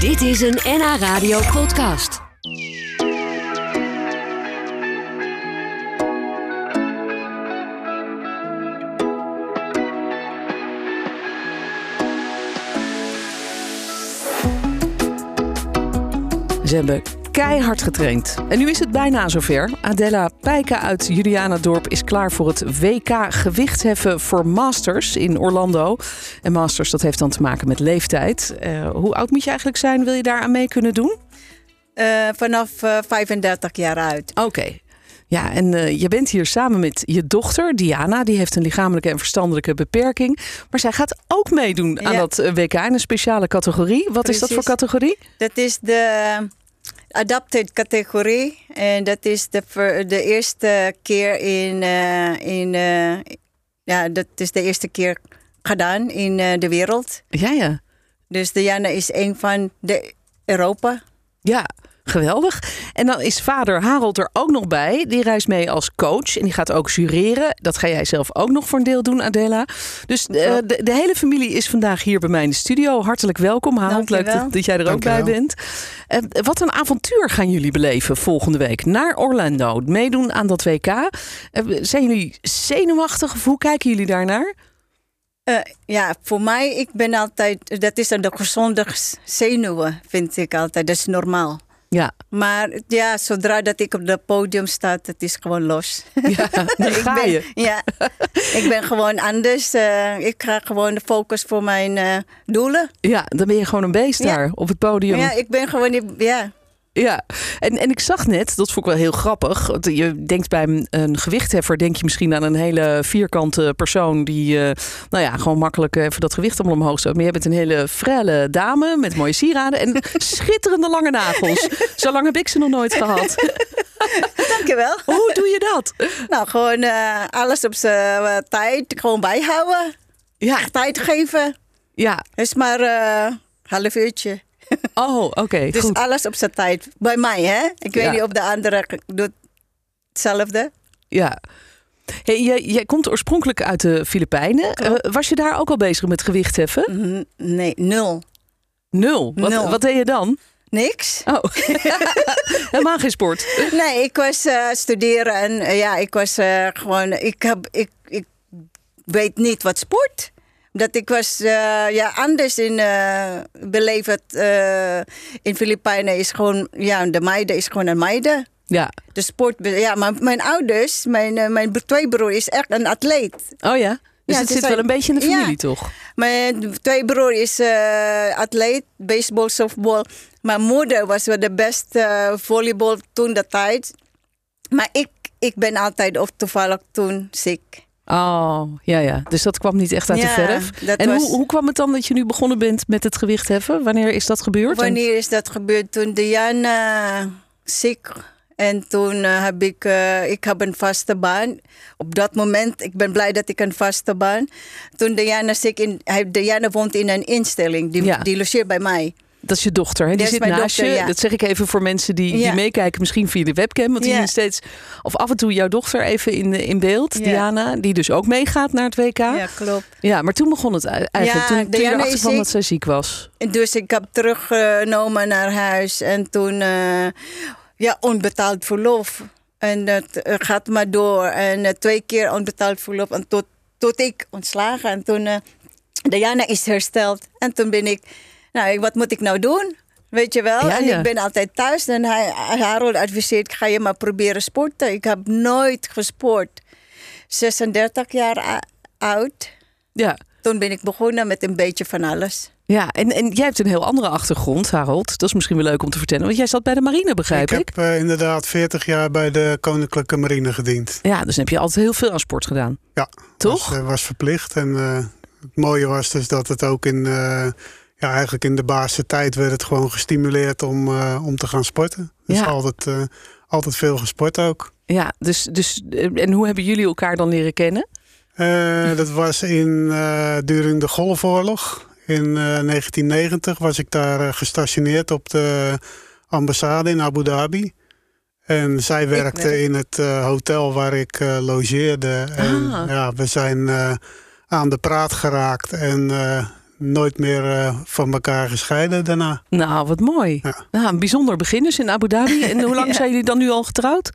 Dit is een NH Radio podcast. Ze hebben keihard getraind. En nu is het bijna zover. Adela Pijka uit Julianadorp is klaar voor het WK gewichtheffen voor Masters in Orlando. En Masters, dat heeft dan te maken met leeftijd. Eh, hoe oud moet je eigenlijk zijn? Wil je daar aan mee kunnen doen? Eh, vanaf eh, 35 jaar uit. Oké. Ja, en eh, je bent hier samen met je dochter, Diana. Die heeft een lichamelijke en verstandelijke beperking. Maar zij gaat ook meedoen aan Ja. dat eh, WK in een speciale categorie. Wat is dat voor Precies. categorie? Dat is de eh, adapted categorie. En dat is de, ver- de eerste keer in. eh, in eh, ja, dat is de eerste keer gedaan in eh, de wereld. Ja, ja. Dus Diana is een van de Europa. Ja, geweldig. En dan is vader Harold er ook nog bij. Die reist mee als coach en die gaat ook jureren. Dat ga jij zelf ook nog voor een deel doen, Adela. Dus eh, Klopt. de, de hele familie is vandaag hier bij mij in de studio. Hartelijk welkom, Harold. Leuk Dankjewel. dat, dat jij er ook Dankjewel. bij bent. Eh, wat een avontuur gaan jullie beleven volgende week naar Orlando. Meedoen aan dat WK. Eh, zijn jullie zenuwachtig of hoe kijken jullie daarnaar? Eh, ja, voor mij, ik ben altijd. Dat is de gezonde zenuwen, vind ik altijd. Dat is normaal. Ja, Maar ja, zodra dat ik op het podium sta, het is gewoon los. ja dan ik ga ben, je. Ja, ik ben gewoon anders. Eh, ik ga gewoon de focus voor mijn eh, doelen. Ja, dan ben je gewoon een beest Ja. daar op het podium. Ja, ik ben gewoon... die- Ja, Ja, en, en ik zag net, dat vond ik wel heel grappig. want Je denkt bij een, een gewichtheffer, denk je misschien aan een hele vierkante persoon die, eh, nou ja, gewoon makkelijk even dat gewicht allemaal omhoog stoot. Maar jij bent een hele frelle dame met mooie sieraden en schitterende lange nagels. Zo lang heb ik ze nog nooit gehad. dankjewel. Hoe doe je dat? Nou, gewoon eh, alles op zijn eh, tijd. Gewoon bijhouden. Ja, Tijd geven. ja. is maar eh half uurtje. Oh, oké. Dus goed. alles op zijn tijd. Bij mij, hè? Ik weet Ja. niet of de andere doet hetzelfde. Ja. Hey, jij, jij komt oorspronkelijk uit de Filipijnen. Eh, was je daar ook al bezig met gewichtheffen? Mhm, Nee, nul. Nul. Wat, Nul. wat deed je dan? Niks. Oh, helemaal geen sport. Nee, ik was eh, studeren en eh, ja, ik was eh, gewoon. Ik, heb, ik, ik weet niet wat sport. Dat ik was eh, ja, anders in eh beleefd. eh, in Filipijnen is gewoon. Ja, de meiden is gewoon een meiden. Ja. De sport. Ja, maar mijn ouders, mijn, eh, mijn tweebroer is echt een atleet. Oh ja. Dus het Ja, het is zit wel wel- een beetje in de Ja. familie, toch? Mijn tweebroer is eh, atleet, baseball, softball. Mijn moeder was wel de beste eh, volleybal toen de tijd. Maar ik, ik ben altijd of toevallig toen ziek. Oh, ja, ja. Dus dat kwam niet echt uit de Ja, verf. dat En was- hoe, hoe kwam het dan dat je nu begonnen bent met het gewicht heffen? Wanneer is dat gebeurd? En- Wanneer is dat gebeurd? Toen Diana ziek. En toen eh, heb ik, eh, ik heb een vaste baan. Op dat moment, ik ben blij dat ik een vaste baan. Toen Diana ziek, in, hij- Diana woont in een instelling. Die, Ja. die logeert bij mij. Dat is je dochter, hè? Die Dat is zit mijn naast dochter, je. ja. Dat zeg ik even voor mensen die, die Ja. meekijken, misschien via de webcam. Want die Ja. zien steeds, of af en toe jouw dochter even in, in beeld, Ja. Diana. Die dus ook meegaat naar het WK. ja Ja, klopt. maar toen begon het ei- eigenlijk. Ja, toen toen je Diana erachter is kwam ziek. dat zij ziek was. En Dus ik heb teruggenomen naar huis en toen eh, ja, onbetaald verlof. En dat eh, gaat maar door. En eh, twee keer onbetaald verlof. En tot, tot ik ontslagen. En toen eh Diana is hersteld. En toen ben ik, nou, ik- wat moet ik nou doen? Weet je wel? Ja, en ja. ik ben altijd thuis. En hij, Harold adviseert, ga je maar proberen sporten. Ik heb nooit gesport. 36 jaar a- oud. Ja. Toen ben ik begonnen met een beetje van alles. Ja, en, en jij hebt een heel andere achtergrond, Harold. Dat is misschien wel leuk om te vertellen. Want jij zat bij de marine, begrijp ik. Ik heb eh, inderdaad 40 jaar bij de Koninklijke Marine gediend. Ja, dus dan heb je altijd heel veel aan sport gedaan. Ja. Toch? Was, eh, was verplicht. En eh, het mooie was dus dat het ook in, eh, ja, eigenlijk in de baasse tijd werd het gewoon gestimuleerd om, eh, om te gaan sporten. Dus Ja. altijd, eh, altijd veel gesport ook. Ja, dus, dus eh, en hoe hebben jullie elkaar dan leren kennen? Eh, dat was in, eh, during de Golfoorlog. In eh, 1990 was ik daar eh, gestationeerd op de ambassade in Abu Dhabi. En zij werkte werk- in het eh, hotel waar ik eh, logeerde. En Ah. ja, we zijn eh, aan de praat geraakt. En eh, nooit meer eh, van elkaar gescheiden daarna. Nou, wat mooi. Ja. Nou, een bijzonder begin dus in Abu Dhabi. En hoe lang zijn jullie dan nu al getrouwd?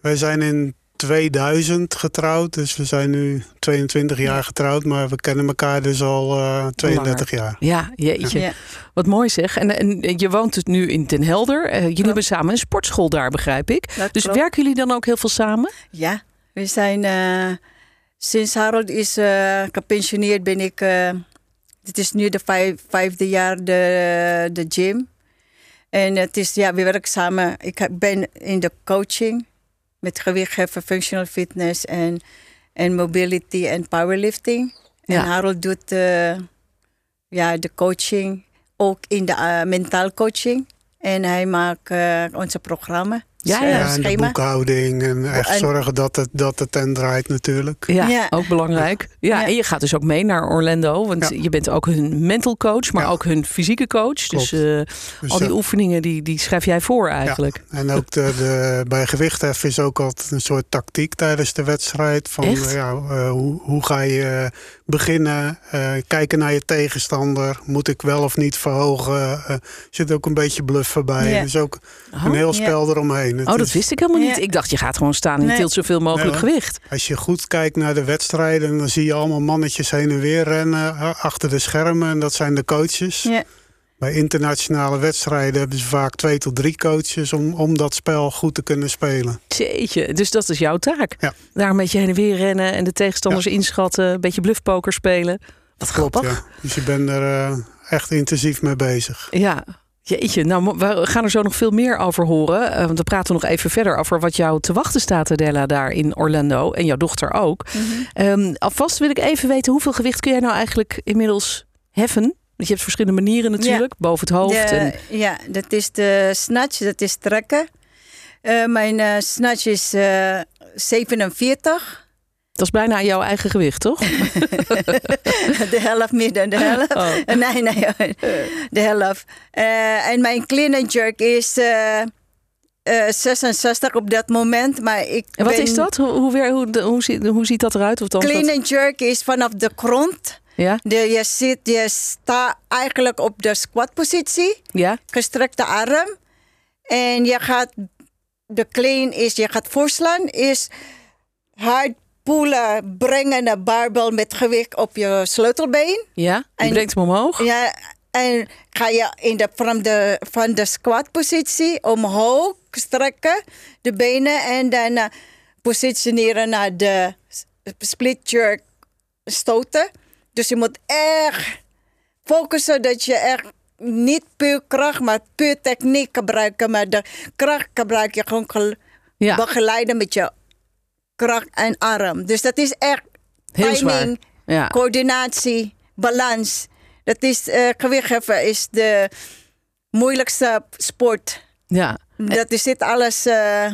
Wij zijn in 2000 getrouwd, dus we zijn nu 22 jaar getrouwd, maar we kennen elkaar dus al eh, 32 jaar. Ja, jeetje. Ja. Wat mooi zeg. En, en je woont dus nu in Den Helder. Eh, jullie hebben samen een sportschool daar, begrijp ik. Dat Dus klopt. werken jullie dan ook heel veel samen? Ja, we zijn. eh, sinds Harold is eh, gepensioneerd, ben ik. eh, dit is nu de vijf- vijfde jaar de, de gym. En het is, ja, we werken samen. Ik heb- ben in de coaching met gewichtheffen, functional fitness en, en mobility en powerlifting. Ja. En Harold doet eh, ja, de coaching, ook in de eh, mentaal coaching. En hij maakt eh, onze programma. Ja, eh, ja, Oh, Ja, en de schema. boekhouding en echt En- zorgen dat het, dat het ten draait natuurlijk. Ja, Ja. ook belangrijk. Ja, Ja. en je gaat dus ook mee naar Orlando. Want Ja. je bent ook hun mental coach, maar Ja. ook hun fysieke coach. Dus Klopt. eh, Dus al die dat- oefeningen, die, die schrijf jij voor eigenlijk. En ook de, de, bij gewichtheffen is ook altijd een soort tactiek tijdens de wedstrijd. Van Echt? eh, ja, eh, hoe, hoe ga je eh, beginnen? Eh, kijken naar je tegenstander. Moet ik wel of niet verhogen? Eh, Er zit ook een beetje bluffen bij. Ja. Dus ook Oh. een heel Ja. spel eromheen. Het Oh, dat is- wist ik helemaal niet. Ja. Ik dacht, je gaat gewoon staan en je Nee. tilt zoveel mogelijk Nee, hoor. gewicht. Als je goed kijkt naar de wedstrijden, dan zie je allemaal mannetjes heen en weer rennen eh, achter de schermen. En dat zijn de coaches. Ja. Bij internationale wedstrijden hebben ze vaak twee tot drie coaches om, om dat spel goed te kunnen spelen. Jeetje, dus dat is jouw taak. Ja. Daar een beetje heen en weer rennen en de tegenstanders inschatten. Een beetje bluffpoker spelen. Wat Klopt, grappig. ja. Dus je bent er eh, echt intensief mee bezig. Ja, jeetje. Nou, mo- we gaan er zo nog veel meer over horen. eh, want we praten nog even verder over wat jou te wachten staat, Adela, daar in Orlando. En jouw dochter ook. Mhm. Ehm, alvast wil ik even weten, hoeveel gewicht kun jij nou eigenlijk inmiddels heffen? Want je hebt verschillende manieren natuurlijk. Boven het hoofd. De- en, Ja, dat is de snatch, dat is trekken. Eh, mijn eh, snatch is eh, 47, dat is bijna jouw eigen gewicht, toch? de helft meer dan de helft. Oh. Nee, nee, de helft. Eh, en mijn clean and jerk is eh, eh, 66 op dat moment. Maar ik En wat ben- is dat? Hoe, hoe, weer- hoe, hoe, ziet, hoe ziet dat eruit? Of dan Clean and jerk is vanaf de grond. Ja? De, je, zit, je staat eigenlijk op de squat positie. Ja? gestrekte arm. En je gaat, de clean is, je gaat voorslaan, is hard poelen, brengen de barbel met gewicht op je sleutelbeen. Ja? Je En- brengt hem omhoog? Ja, en ga je in de, van, de, van de squat positie omhoog strekken, de benen, en dan eh, positioneren naar de s- split jerk stoten. Dus je moet echt focussen dat je echt niet puur kracht, maar puur techniek gebruiken. Maar de kracht gebruik je gewoon gel- Ja. begeleiden met je kracht en arm. Dus dat is echt Heel zwaar. timing, Ja. coördinatie, balans. Dat is eh gewichtheffen is de moeilijkste sport. ja. Dat is dit alles. eh,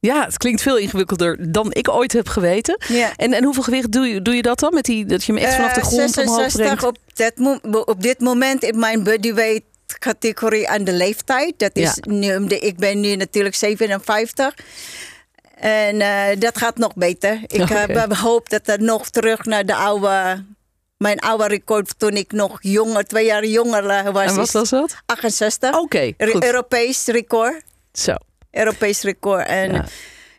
Ja, het klinkt veel ingewikkelder dan ik ooit heb geweten. Ja. En, en hoeveel gewicht doe je, doe je dat dan? Met die, dat je hem echt vanaf de eh, grond omhoog 66 brengt? op, dat mo- op dit moment in mijn bodyweight categorie aan de leeftijd. Dat is Ja. nu, om de- ik ben nu natuurlijk 57. En eh, dat gaat nog beter. Ik Oké. heb- hoop dat er nog terug naar de oude, mijn oude record toen ik nog jonger, twee jaar jonger eh, was. En wat is was dat? 68. Oké, Re- goed. Europees record. Zo. Europees record. En Ja.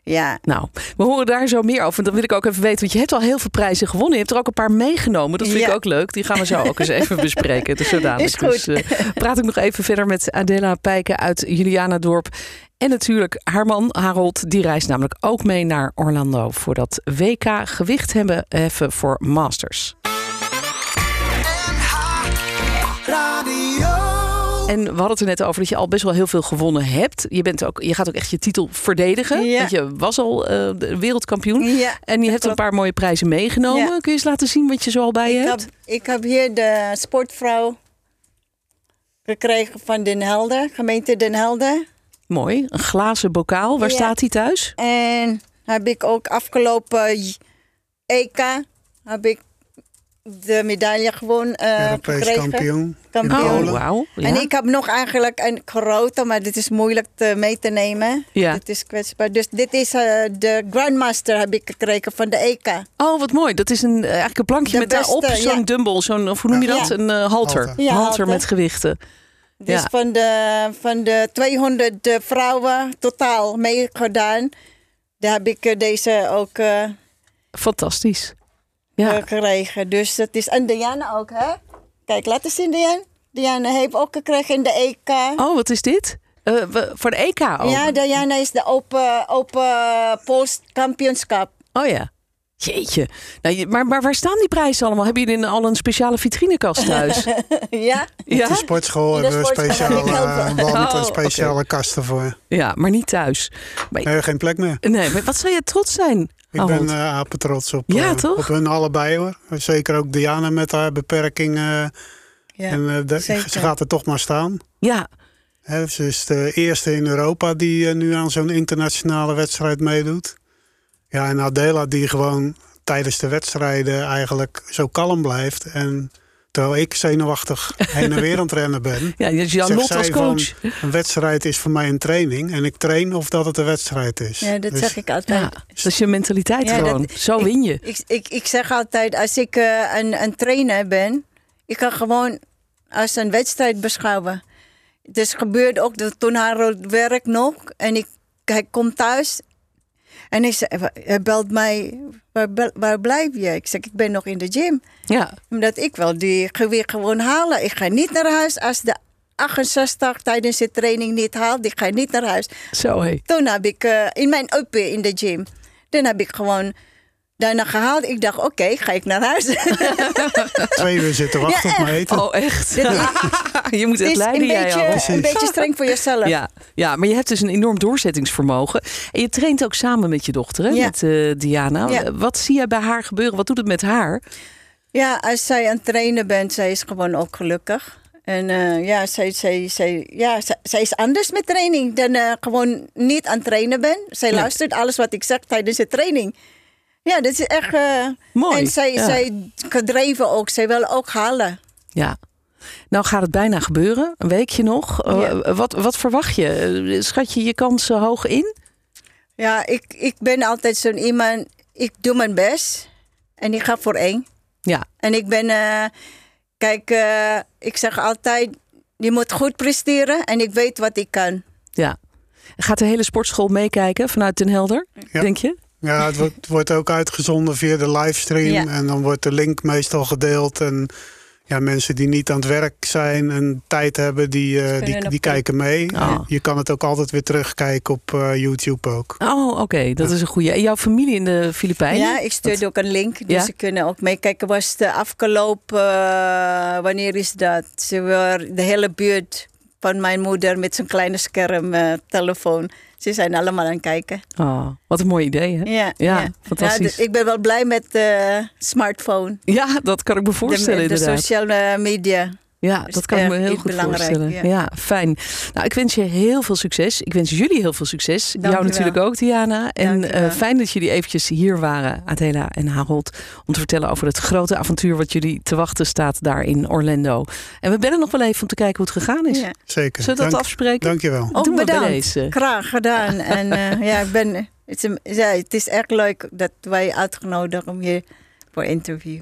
ja. Nou, we horen daar zo meer over. Want dan wil ik ook even weten, want je hebt al heel veel prijzen gewonnen. Je hebt er ook een paar meegenomen. Dat vind ik Ja. ook leuk. Die gaan we zo ook eens even bespreken. Dus zodanig. Is goed. Dus, eh, praat ik nog even verder met Adela Pijken uit Julianadorp. En natuurlijk haar man Harold. Die reist namelijk ook mee naar Orlando voor dat WK gewicht hebben heffen voor masters. En we hadden het er net over dat je al best wel heel veel gewonnen hebt. Je, bent ook, je gaat ook echt je titel verdedigen. Ja. Want je was al eh, de wereldkampioen. ja. En je hebt een klopt. paar mooie prijzen meegenomen. Ja. Kun je eens laten zien wat je zo al bij je Ik hebt? heb, ik heb hier de sportvrouw gekregen van Den Helder, gemeente Den Helder. Mooi. Een glazen bokaal. Waar Ja. staat die thuis? En heb ik ook afgelopen j- EK heb ik de medaille gewoon eh Europees gekregen. kampioen. Kampioen. Oh, Polen. wauw. Ja. En ik heb nog eigenlijk een grote, maar dit is moeilijk te mee te nemen. Ja. Dit is kwetsbaar. Dus dit is eh, de Grandmaster heb ik gekregen van de EK. Oh, wat mooi. Dat is een, eh, eigenlijk een plankje De met daarop beste, zo'n ja. dumbbell. Zo'n, of hoe noem je Ja. dat? Een eh, halter. Halter. Ja, halter. met gewichten. Dus Ja. van, de, van de 200 vrouwen totaal meegedaan. Daar heb ik eh, deze ook eh, Fantastisch. Ja. eh, gekregen. Dus dat is. En Diana ook, hè? Kijk, laat eens zien, Diana. Diana heeft ook gekregen in de EK. Oh, wat is dit? Eh, we- voor de EK ook? Ja, Diana is de open, open Pools kampioenschap. Oh ja. Jeetje. Nou, je- maar, maar waar staan die prijzen allemaal? Hebben jullie in al een speciale vitrinekast thuis? ja. ja? De sportschool In de hebben we sportschool heb ik speciale heel eh, veel. wand Oh, en speciale kasten voor. ja, maar niet thuis. Maar, Nee, geen plek meer. nee, maar wat zou je trots zijn? Ik Harold? ben eh apen trots op, Oh, Ja, eh, toch? op hun allebei hoor. Zeker ook Diana met haar beperking. eh, Ja. en eh, de- zeker. ze gaat er toch maar staan. Ja, Hè, ze is de eerste in Europa die eh, nu aan zo'n internationale wedstrijd meedoet. Ja, en Adela die gewoon tijdens de wedstrijden eigenlijk zo kalm blijft. En terwijl ik zenuwachtig heen en weer aan het rennen ben. ja dus Jan zegt Lot zij als van, coach. een wedstrijd is voor mij een training. En ik train of dat het een wedstrijd is. Ja, dat Dus zeg ik altijd. Ja, dat is je mentaliteit Ja, dat- gewoon. Zo win je. Ik, ik, ik zeg altijd, als ik eh, een, een trainer ben, ik kan gewoon als een wedstrijd beschouwen. Dus gebeurde ook dat toen Harold werkt nog en ik, hij komt thuis en hij, zei- hij belt mij, waar, bel- waar blijf je? Ik zeg, ik ben nog in de gym. Ja, Omdat ik wil die gewicht gewoon halen. Ik ga niet naar huis als de 68 tijdens de training niet haalt. Ik ga niet naar huis. zo hé. Toen heb ik eh, in mijn up in de gym. Dan heb ik gewoon daarna gehaald. Ik dacht, oké, ga ik naar huis. Twee uur zitten wachten Ja, op mijn eten. Oh, echt? Dit is- je moet Het het is leiden, een jij al. beetje, een beetje streng voor jezelf. Ja, ja, maar je hebt dus een enorm doorzettingsvermogen. En je traint ook samen met je dochter, hè? Ja. met eh, Diana. Ja. Wat zie jij bij haar gebeuren? Wat doet het met haar? Ja, als zij aan het trainen bent, zij is gewoon ook gelukkig. En eh, ja, zij, zij, zij, ja zij, zij is anders met training dan eh, gewoon niet aan het trainen ben. Zij Nee. luistert alles wat ik zeg tijdens de training. Ja, dat is echt... eh, Mooi, En zij, ja. zij gedreven ook. Zij wil ook halen. Ja. Nou gaat het bijna gebeuren, een weekje nog. Eh, Ja. wat, wat verwacht je? Eh, Schat je je kansen hoog in? Ja, ik, ik ben altijd zo'n iemand. Ik doe mijn best en ik ga voor één. Ja, En ik ben, eh, kijk, eh, ik zeg altijd: je moet goed presteren en ik weet wat ik kan. ja. Gaat de hele sportschool meekijken vanuit Den Helder, Ja. denk je? Ja, het wordt, het wordt ook uitgezonden via de Ja. livestream. En dan wordt de link meestal gedeeld. En ja, mensen die niet aan het werk zijn en tijd hebben, die, eh, kunnen die, nog die kijken mee. Oh. Je kan het ook altijd weer terugkijken op eh, YouTube ook. Oh, oké, dat is een goede. En jouw familie in de Filipijnen? Ja, ik stuurde ook een link, dus Ja? ze kunnen ook meekijken. Was de afgelopen, eh, wanneer is dat? Ze waren de hele buurt van mijn moeder met zo'n kleine scherm, eh, telefoon. Ze zijn allemaal aan het kijken. Oh, wat een mooi idee, hè? Ja, Ja, Ja, fantastisch. dus ik ben wel blij met de smartphone. Ja, dat kan ik me voorstellen de, de inderdaad. sociale media. Ja, is dat kan ik me erg heel Dus iets goed belangrijk, voorstellen. Ja. ja. fijn. Nou, ik wens je heel veel succes. Ik wens jullie heel veel succes. Dank Jou je natuurlijk wel. ook, Diana. En Dank je wel. eh, fijn dat jullie eventjes hier waren, Adela en Harold, om te vertellen over het grote avontuur wat jullie te wachten staat daar in Orlando. En we bellen nog wel even om te kijken hoe het gegaan is. Ja. Zeker. Zullen we dat Dank- afspreken? Dankjewel. Doen Ook we bij bedankt. deze. Graag gedaan. en eh, ja, ik ben, het, is, een- ja, het is echt leuk dat wij uitgenodigd om hier voor interview.